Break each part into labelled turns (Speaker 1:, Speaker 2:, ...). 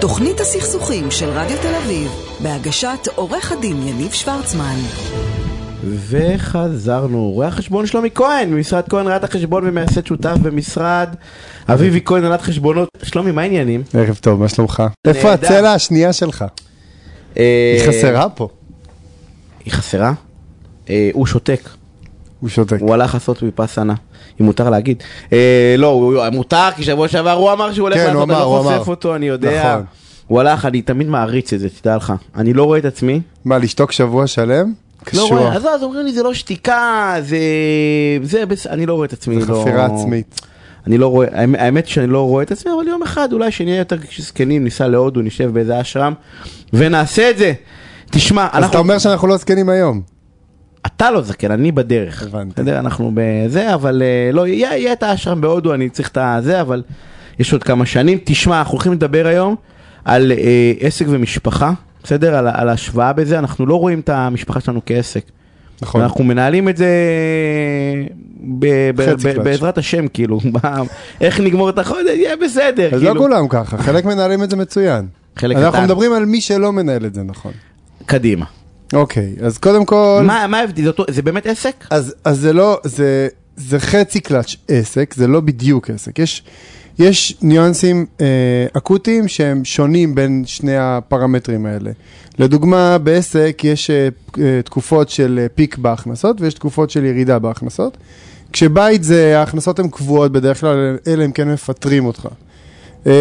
Speaker 1: תוכנית הסכסוכים של רדיו תל אביב, בהגשת עורך הדין יניב שוורצמן.
Speaker 2: וחזרנו, רואה החשבון שלומי כהן, ממשרד כהן ראיית החשבון ומייסד שותף במשרד אביבי כהן הנהלת חשבונות. שלומי, מה העניינים?
Speaker 3: ערב טוב, מה שלומך?
Speaker 2: נהדר.
Speaker 3: איפה
Speaker 2: אה,
Speaker 3: הצלע השנייה שלך? היא חסרה פה.
Speaker 2: היא חסרה? אה, הוא שותק,
Speaker 3: הוא שותק.
Speaker 2: הוא הלך לעשות מפסנה, אם מותר להגיד. אה, לא, הוא- הוא- מותר, כי שבוע שעבר הוא אמר שהוא הולך
Speaker 3: כן, הוא
Speaker 2: לעשות, אני לא
Speaker 3: אמר, הוא
Speaker 2: חושף
Speaker 3: אמר.
Speaker 2: אותו, אני יודע.
Speaker 3: נכון.
Speaker 2: הוא הלך, אני תמיד מעריץ את זה, תדע לך. אני לא רואה את עצמי.
Speaker 3: מה, לשתוק שבוע שלם?
Speaker 2: לא
Speaker 3: קשוח.
Speaker 2: רואה, אז אז אומרים לי זה לא שתיקה, זה... זה, בס- אני לא רואה את עצמי.
Speaker 3: זה
Speaker 2: לא-
Speaker 3: חפירה עצמית.
Speaker 2: אני לא רואה, האמת- האמת שאני לא רואה את עצמי, אבל יום אחד אולי שנהיה יותר זקנים, ניסע להודו, נשב באיזה אשרם, ונעשה את זה. תשמע,
Speaker 3: אז אתה
Speaker 2: אנחנו...
Speaker 3: אומר שאנחנו לא זקנים היום.
Speaker 2: אתה לא זקן, אני בדרך.
Speaker 3: הבנתי.
Speaker 2: בסדר, אנחנו בזה, אבל אה, לא, יהיה יהיה את האשרם בהודו, אני צריך את הזה, אבל יש עוד כמה שנים. תשמע, אנחנו הולכים לדבר היום על אה, עסק ומשפחה, בסדר? על, ה- על ההשוואה בזה, אנחנו לא רואים את המשפחה שלנו כעסק.
Speaker 3: נכון.
Speaker 2: אנחנו מנהלים את זה ב- ב-
Speaker 3: חצי
Speaker 2: ב-
Speaker 3: קלאץ'.
Speaker 2: בעזרת השם, כאילו, ב- איך נגמור את החודש, יהיה בסדר,
Speaker 3: אז לא
Speaker 2: כאילו,
Speaker 3: כולם ככה, חלק מנהלים את זה מצוין.
Speaker 2: חלק
Speaker 3: אז אנחנו
Speaker 2: קטן.
Speaker 3: מדברים על מי שלא מנהל את זה נכון.
Speaker 2: קדימה.
Speaker 3: אוקיי, אז קודם כל...
Speaker 2: מה מה ההבדל, זה אותו- זה באמת עסק?
Speaker 3: אז, אז זה לא, זה, זה חצי קלאץ' עסק, זה לא בדיוק עסק. יש, יש ניואנסים אה, אקוטיים שהם שונים בין שני הפרמטרים האלה. לדוגמה, בעסק יש אה, אה, תקופות של אה, פיק בהכנסות ויש תקופות של ירידה בהכנסות. כשבית זה, ההכנסות הן קבועות בדרך כלל, אלא אם כן מפטרים אותך. אה,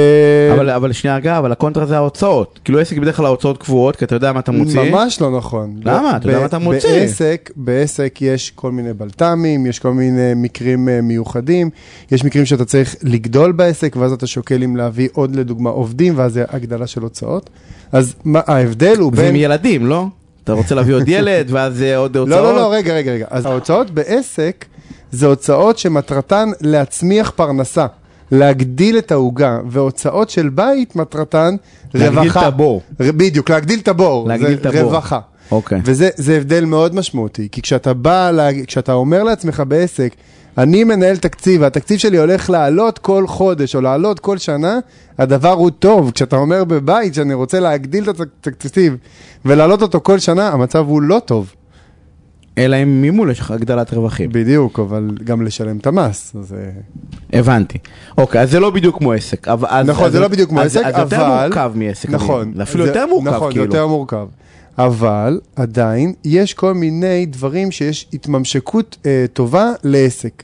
Speaker 2: אבל, אבל שנייה, אגב, אבל הקונטרה זה ההוצאות. כאילו עסק בדרך כלל ההוצאות קבועות, כי אתה יודע מה אתה מוציא.
Speaker 3: ממש לא נכון.
Speaker 2: למה? אתה יודע מה אתה
Speaker 3: ב-
Speaker 2: מוציא.
Speaker 3: בעסק, בעסק יש כל מיני בלת"מים, יש כל מיני מקרים אה, מיוחדים, יש מקרים שאתה צריך לגדול בעסק, ואז אתה שוקל אם להביא עוד לדוגמה עובדים, ואז זה הגדלה של הוצאות. אז מה, ההבדל הוא
Speaker 2: ועם
Speaker 3: בין...
Speaker 2: ילדים, לא? אתה רוצה להביא עוד ילד, ואז אה, עוד הוצאות?
Speaker 3: לא, לא, לא, רגע, רגע, רגע. אז ההוצאות בעסק זה הוצאות שמטרתן להצמיח פרנסה. להגדיל את העוגה, והוצאות של בית מטרתן
Speaker 2: להגדיל
Speaker 3: רווחה.
Speaker 2: את הבור.
Speaker 3: ר- בדיוק, להגדיל את הבור.
Speaker 2: להגדיל
Speaker 3: זה
Speaker 2: את הבור.
Speaker 3: רווחה.
Speaker 2: אוקיי.
Speaker 3: וזה זה הבדל מאוד משמעותי, כי כשאתה בא, לה- כשאתה אומר לעצמך בעסק, אני מנהל תקציב, והתקציב שלי הולך לעלות כל חודש או לעלות כל שנה, הדבר הוא טוב. כשאתה אומר בבית שאני רוצה להגדיל את התקציב ולהעלות אותו כל שנה, המצב הוא לא טוב.
Speaker 2: אלא אם ממול יש לך הגדלת רווחים.
Speaker 3: בדיוק, אבל גם לשלם את המס. אז, אה,
Speaker 2: הבנתי. אוקיי, אז זה לא בדיוק כמו עסק. אבל- אז-
Speaker 3: נכון,
Speaker 2: אז-
Speaker 3: זה לא בדיוק כמו
Speaker 2: אז-
Speaker 3: עסק, אבל...
Speaker 2: אז יותר מורכב מעסק.
Speaker 3: נכון.
Speaker 2: אני- זה אפילו
Speaker 3: זה-
Speaker 2: יותר מורכב,
Speaker 3: נכון, זה
Speaker 2: כאילו.
Speaker 3: יותר מורכב. אבל עדיין יש כל מיני דברים שיש התממשקות אה, טובה לעסק.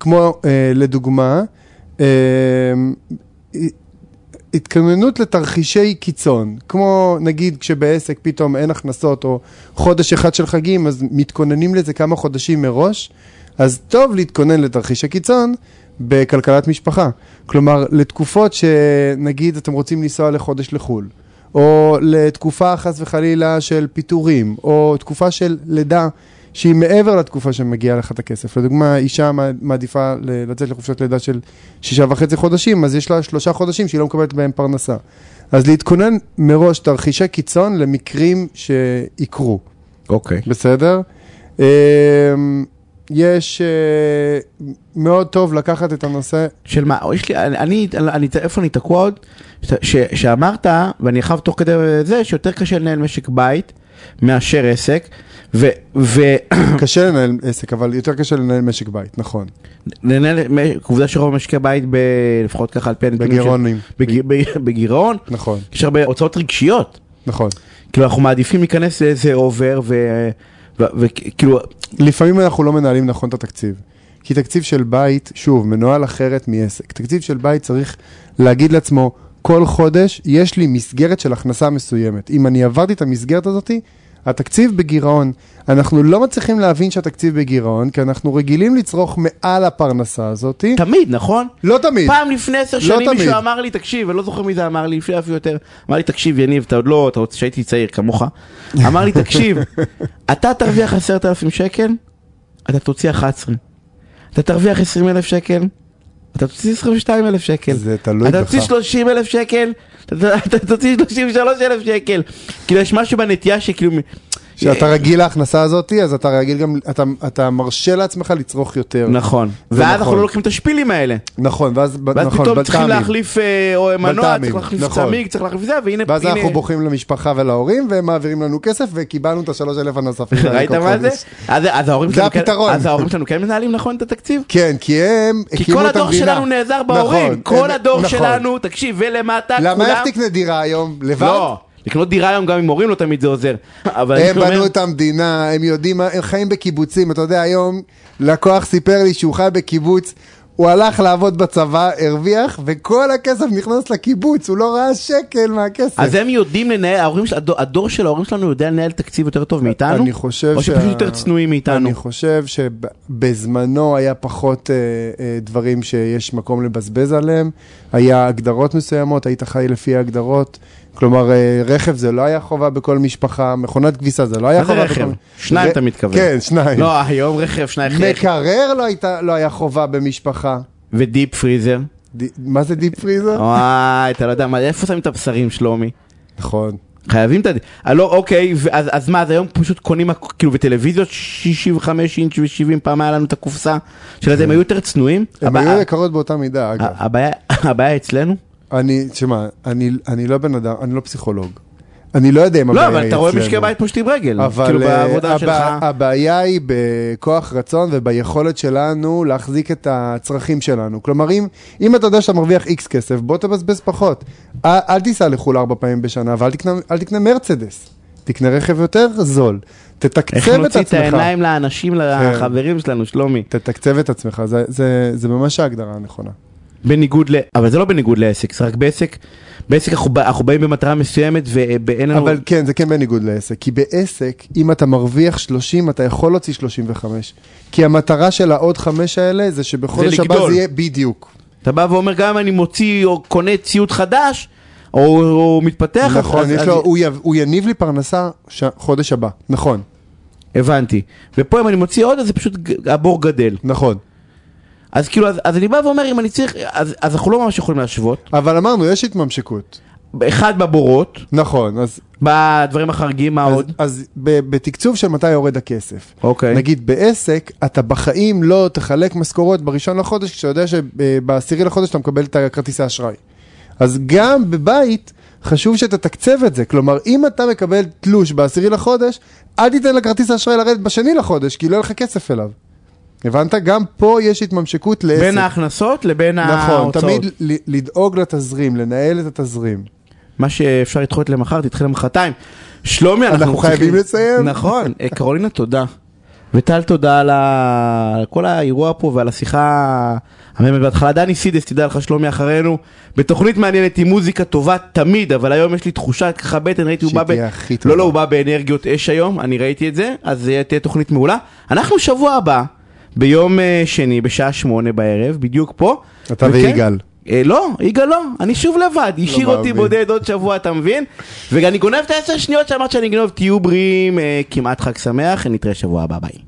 Speaker 3: כמו אה, לדוגמה, אה, התכוננות לתרחישי קיצון, כמו נגיד כשבעסק פתאום אין הכנסות או חודש אחד של חגים, אז מתכוננים לזה כמה חודשים מראש, אז טוב להתכונן לתרחישי קיצון בכלכלת משפחה. כלומר, לתקופות שנגיד אתם רוצים לנסוע לחודש לחו"ל, או לתקופה חס וחלילה של פיטורים, או תקופה של לידה. שהיא מעבר לתקופה שמגיע לך את הכסף. לדוגמה, אישה מע- מעדיפה ל- לצאת לחופשת לידה של שישה וחצי חודשים, אז יש לה שלושה חודשים שהיא לא מקבלת בהם פרנסה. אז להתכונן מראש תרחישי קיצון למקרים שיקרו,
Speaker 2: אוקיי.
Speaker 3: בסדר? אמ, יש אה, מאוד טוב לקחת את הנושא,
Speaker 2: של מה, או יש לי, אני, אני, אני, איפה אני תקוע עוד? ש, שאמרת, ואני חייב תוך כדי זה, שיותר קשה לנהל משק בית מאשר עסק, ו,
Speaker 3: קשה לנהל עסק, אבל יותר קשה לנהל משק בית, נכון.
Speaker 2: ולנהל, עובדה שרוב משקי בית, ב, לפחות ככה על פי הנתונים,
Speaker 3: בגירעונים.
Speaker 2: של- בג, בג, בגירעון,
Speaker 3: נכון,
Speaker 2: יש הרבה הוצאות רגשיות,
Speaker 3: נכון.
Speaker 2: כאילו אנחנו מעדיפים להיכנס לאיזה אובר, ו- ו- וכאילו,
Speaker 3: לפעמים אנחנו לא מנהלים נכון את התקציב. כי תקציב של בית, שוב, מנוהל אחרת מעסק. תקציב של בית צריך להגיד לעצמו, כל חודש יש לי מסגרת של הכנסה מסוימת. אם אני עברתי את המסגרת הזאת, התקציב בגירעון. אנחנו לא מצליחים להבין שהתקציב בגירעון, כי אנחנו רגילים לצרוך מעל הפרנסה הזאת.
Speaker 2: תמיד, נכון?
Speaker 3: לא תמיד.
Speaker 2: פעם לפני עשר שנים
Speaker 3: תמיד.
Speaker 2: מישהו אמר לי, תקשיב, אני לא זוכר מי זה אמר לי, לפני אפילו יותר, אמר לי, תקשיב, יניב, אתה עוד לא, אתה עוד שהייתי צעיר כמוך, אמר לי, תקשיב, אתה תרוויח עשרת אלפים שקל, אתה תוציא 11. אתה תרוויח עשרים אלף שקל, אתה תוציא עשרים ושתיים אלף שקל.
Speaker 3: זה לא תלוי
Speaker 2: אתה
Speaker 3: בך.
Speaker 2: תוציא שלושים אלף שקל, אתה- אתה תוציא שלושים ושלוש אלף שקל. כאילו, יש משהו בנטייה שכאילו... מ-
Speaker 3: שאתה רגיל להכנסה הזאת, אז אתה רגיל גם, אתה, אתה מרשה לעצמך לצרוך יותר.
Speaker 2: נכון.
Speaker 3: זה
Speaker 2: ואז אנחנו
Speaker 3: נכון.
Speaker 2: לא לוקחים את השפילים האלה.
Speaker 3: נכון, ואז, ב-
Speaker 2: ואז
Speaker 3: נכון,
Speaker 2: פתאום צריכים
Speaker 3: בלת"מים.
Speaker 2: להחליף אה, או מנוע,
Speaker 3: בלת"מים,
Speaker 2: צריך להחליף
Speaker 3: נכון.
Speaker 2: צמיג, צריך להחליף זה, והנה...
Speaker 3: ואז
Speaker 2: הנה-
Speaker 3: אנחנו בוכים למשפחה ולהורים, והם מעבירים לנו כסף, וקיבלנו את השלוש אלף הנוספים. האלה
Speaker 2: ראית
Speaker 3: כל
Speaker 2: מה זה?
Speaker 3: חודש.
Speaker 2: אז אז ההורים
Speaker 3: זה
Speaker 2: שלנו כן-
Speaker 3: הפתרון.
Speaker 2: אז ההורים שלנו כן מנהלים נכון את התקציב?
Speaker 3: כן, כי הם הקימו את המדינה.
Speaker 2: כי כל הדור שלנו נעזר בהורים.
Speaker 3: נכון,
Speaker 2: כל
Speaker 3: הם-
Speaker 2: הדור
Speaker 3: נכון.
Speaker 2: שלנו, תקשיב, ולמטה, כולם...
Speaker 3: למה איך תקנה דירה היום? לבד?
Speaker 2: לא, לקנות דירה היום גם עם הורים לא תמיד זה עוזר. אבל
Speaker 3: הם
Speaker 2: אני אומר-
Speaker 3: בנו את המדינה, הם יודעים, מה- הם חיים בקיבוצים. אתה יודע, היום לקוח סיפר לי שהוא חי בקיבוץ, הוא הלך לעבוד בצבא, הרוויח, וכל הכסף נכנס לקיבוץ, הוא לא ראה שקל מהכסף.
Speaker 2: אז הם יודעים לנהל, ההורים, של- הדור, הדור של ההורים שלנו יודע לנהל תקציב יותר טוב מאיתנו?
Speaker 3: אני חושב
Speaker 2: או שפשוט
Speaker 3: שה-
Speaker 2: יותר צנועים מאיתנו?
Speaker 3: אני חושב שבזמנו היה פחות אה, אה, דברים שיש מקום לבזבז עליהם, היה הגדרות מסוימות, היית חי לפי ההגדרות, כלומר אה, רכב זה לא היה חובה בכל משפחה, מכונת כביסה זה לא היה
Speaker 2: מה זה
Speaker 3: חובה
Speaker 2: רכב?
Speaker 3: בכל...
Speaker 2: שניים
Speaker 3: ר-
Speaker 2: אתה מתכוון.
Speaker 3: כן, שניים.
Speaker 2: לא, היום רכב, שניים רכב,
Speaker 3: מקרר לא, הייתה, לא היה חובה במשפחה.
Speaker 2: ודיפ פריזר.
Speaker 3: ד... מה זה דיפ פריזר?
Speaker 2: וואי, אתה לא יודע מה, איפה שמים את הבשרים, שלומי?
Speaker 3: נכון.
Speaker 2: חייבים את הד... אה, לא, אוקיי, ואז, אז מה, אז היום פשוט קונים, הכ- כאילו, בטלוויזיות 65 אינץ' ו-70 פעם היה לנו את הקופסה של הזה, הם היו יותר צנועים?
Speaker 3: הן
Speaker 2: הבע-
Speaker 3: היו יקרות באותה מידה, אגב.
Speaker 2: ה- הבעיה- הבעיה אצלנו?
Speaker 3: אני, תשמע, אני, אני לא בן אדם, אני לא פסיכולוג. אני לא יודע אם
Speaker 2: לא,
Speaker 3: הבעיה
Speaker 2: אבל
Speaker 3: היא
Speaker 2: אתה רואה משקי
Speaker 3: אצלנו.
Speaker 2: בית פושטים רגל, כאילו
Speaker 3: אבל אה,
Speaker 2: בעבודה שלך.
Speaker 3: הבע- הבעיה היא בכוח רצון וביכולת שלנו להחזיק את הצרכים שלנו. כלומר, אם, אם אתה יודע שאתה מרוויח איקס כסף, בוא תבזבז פחות. אל, אל תיסע לחו"ל ארבע פעמים בשנה, ואל תקנה, אל תקנה מרצדס. תקנה רכב יותר זול.
Speaker 2: איך
Speaker 3: תתקצב את
Speaker 2: נוציא את
Speaker 3: עצמך. כן.
Speaker 2: העיניים לאנשים, לחברים שלנו, שלומי.
Speaker 3: תתקצב את עצמך, זה, זה, זה ממש ההגדרה הנכונה.
Speaker 2: בניגוד ל... אבל זה לא בניגוד לעסק, זה רק בעסק. בעסק אנחנו, בא- אנחנו באים במטרה מסוימת ואין לנו...
Speaker 3: אבל כן, זה כן בניגוד לעסק. כי בעסק, אם אתה מרוויח 30, אתה יכול להוציא 35. כי המטרה של העוד חמש האלה זה שבחודש הבא
Speaker 2: לגדול.
Speaker 3: זה יהיה בדיוק.
Speaker 2: אתה בא ואומר, גם אם אני מוציא או קונה ציוד חדש, או, או מתפתח, אז-
Speaker 3: נכון,
Speaker 2: אז,
Speaker 3: יש
Speaker 2: אז...
Speaker 3: לו, הוא, יב, הוא יניב לי פרנסה ש... חודש הבא, נכון,
Speaker 2: הבנתי. ופה אם אני מוציא עוד, אז זה פשוט ג- הבור גדל.
Speaker 3: נכון.
Speaker 2: אז כאילו, אז, אז אני בא ואומר, אם אני צריך... אז, אז אנחנו לא ממש יכולים להשוות.
Speaker 3: אבל אמרנו, יש התממשקות.
Speaker 2: אחד בבורות,
Speaker 3: נכון, אז,
Speaker 2: בדברים החריגים, מה
Speaker 3: אז,
Speaker 2: עוד?
Speaker 3: אז ב, בתקצוב של מתי יורד הכסף.
Speaker 2: אוקיי.
Speaker 3: נגיד בעסק, אתה בחיים לא תחלק משכורות בראשון לחודש, כשאתה יודע שבעשירי לחודש אתה מקבל את הכרטיסי אשראי. אז גם בבית, חשוב שתתקצב את זה. כלומר, אם אתה מקבל תלוש בעשירי לחודש, אל תיתן לכרטיס האשראי לרדת בשני לחודש, כי לא יהיה לך כסף אליו. הבנת? גם פה יש התממשקות לעסק.
Speaker 2: בין ההכנסות לבין
Speaker 3: נכון,
Speaker 2: ההוצאות.
Speaker 3: תמיד ל- לדאוג לתזרים, לנהל את התזרים.
Speaker 2: מה שאפשר לדחות למחר, תדחה למחרתיים. שלומי, אנחנו,
Speaker 3: אנחנו חייבים
Speaker 2: צריכים-
Speaker 3: לסיים.
Speaker 2: נכון. אה, קרולינה, תודה. וטל, תודה על ה- על כל האירוע פה ועל השיחה המאמת בהתחלה. דני סידס, תדע לך, שלומי אחרינו. בתוכנית מעניינת עם מוזיקה טובה תמיד, אבל היום יש לי תחושה ככה בטן, ראיתי, הוא בא...
Speaker 3: שהיא
Speaker 2: ב-
Speaker 3: תהיה הכי טובה.
Speaker 2: לא, לא, הוא בא באנרגיות אש היום, אני ראיתי את זה, אז זה תהיה תוכנית מעולה. אנחנו שבוע הבא, ביום אה, שני, בשעה שמונה בערב, בדיוק פה.
Speaker 3: אתה
Speaker 2: וכן-
Speaker 3: ויגאל.
Speaker 2: אה, לא, יגאל לא, אני שוב לבד, השאיר
Speaker 3: לא
Speaker 2: אותי
Speaker 3: מאמין.
Speaker 2: בודד עוד שבוע, אתה מבין? ואני גונב את העשר שניות שאמרת שאני אגנוב, תהיו בריאים, אה, כמעט חג שמח, נתראה שבוע הבא, ביי.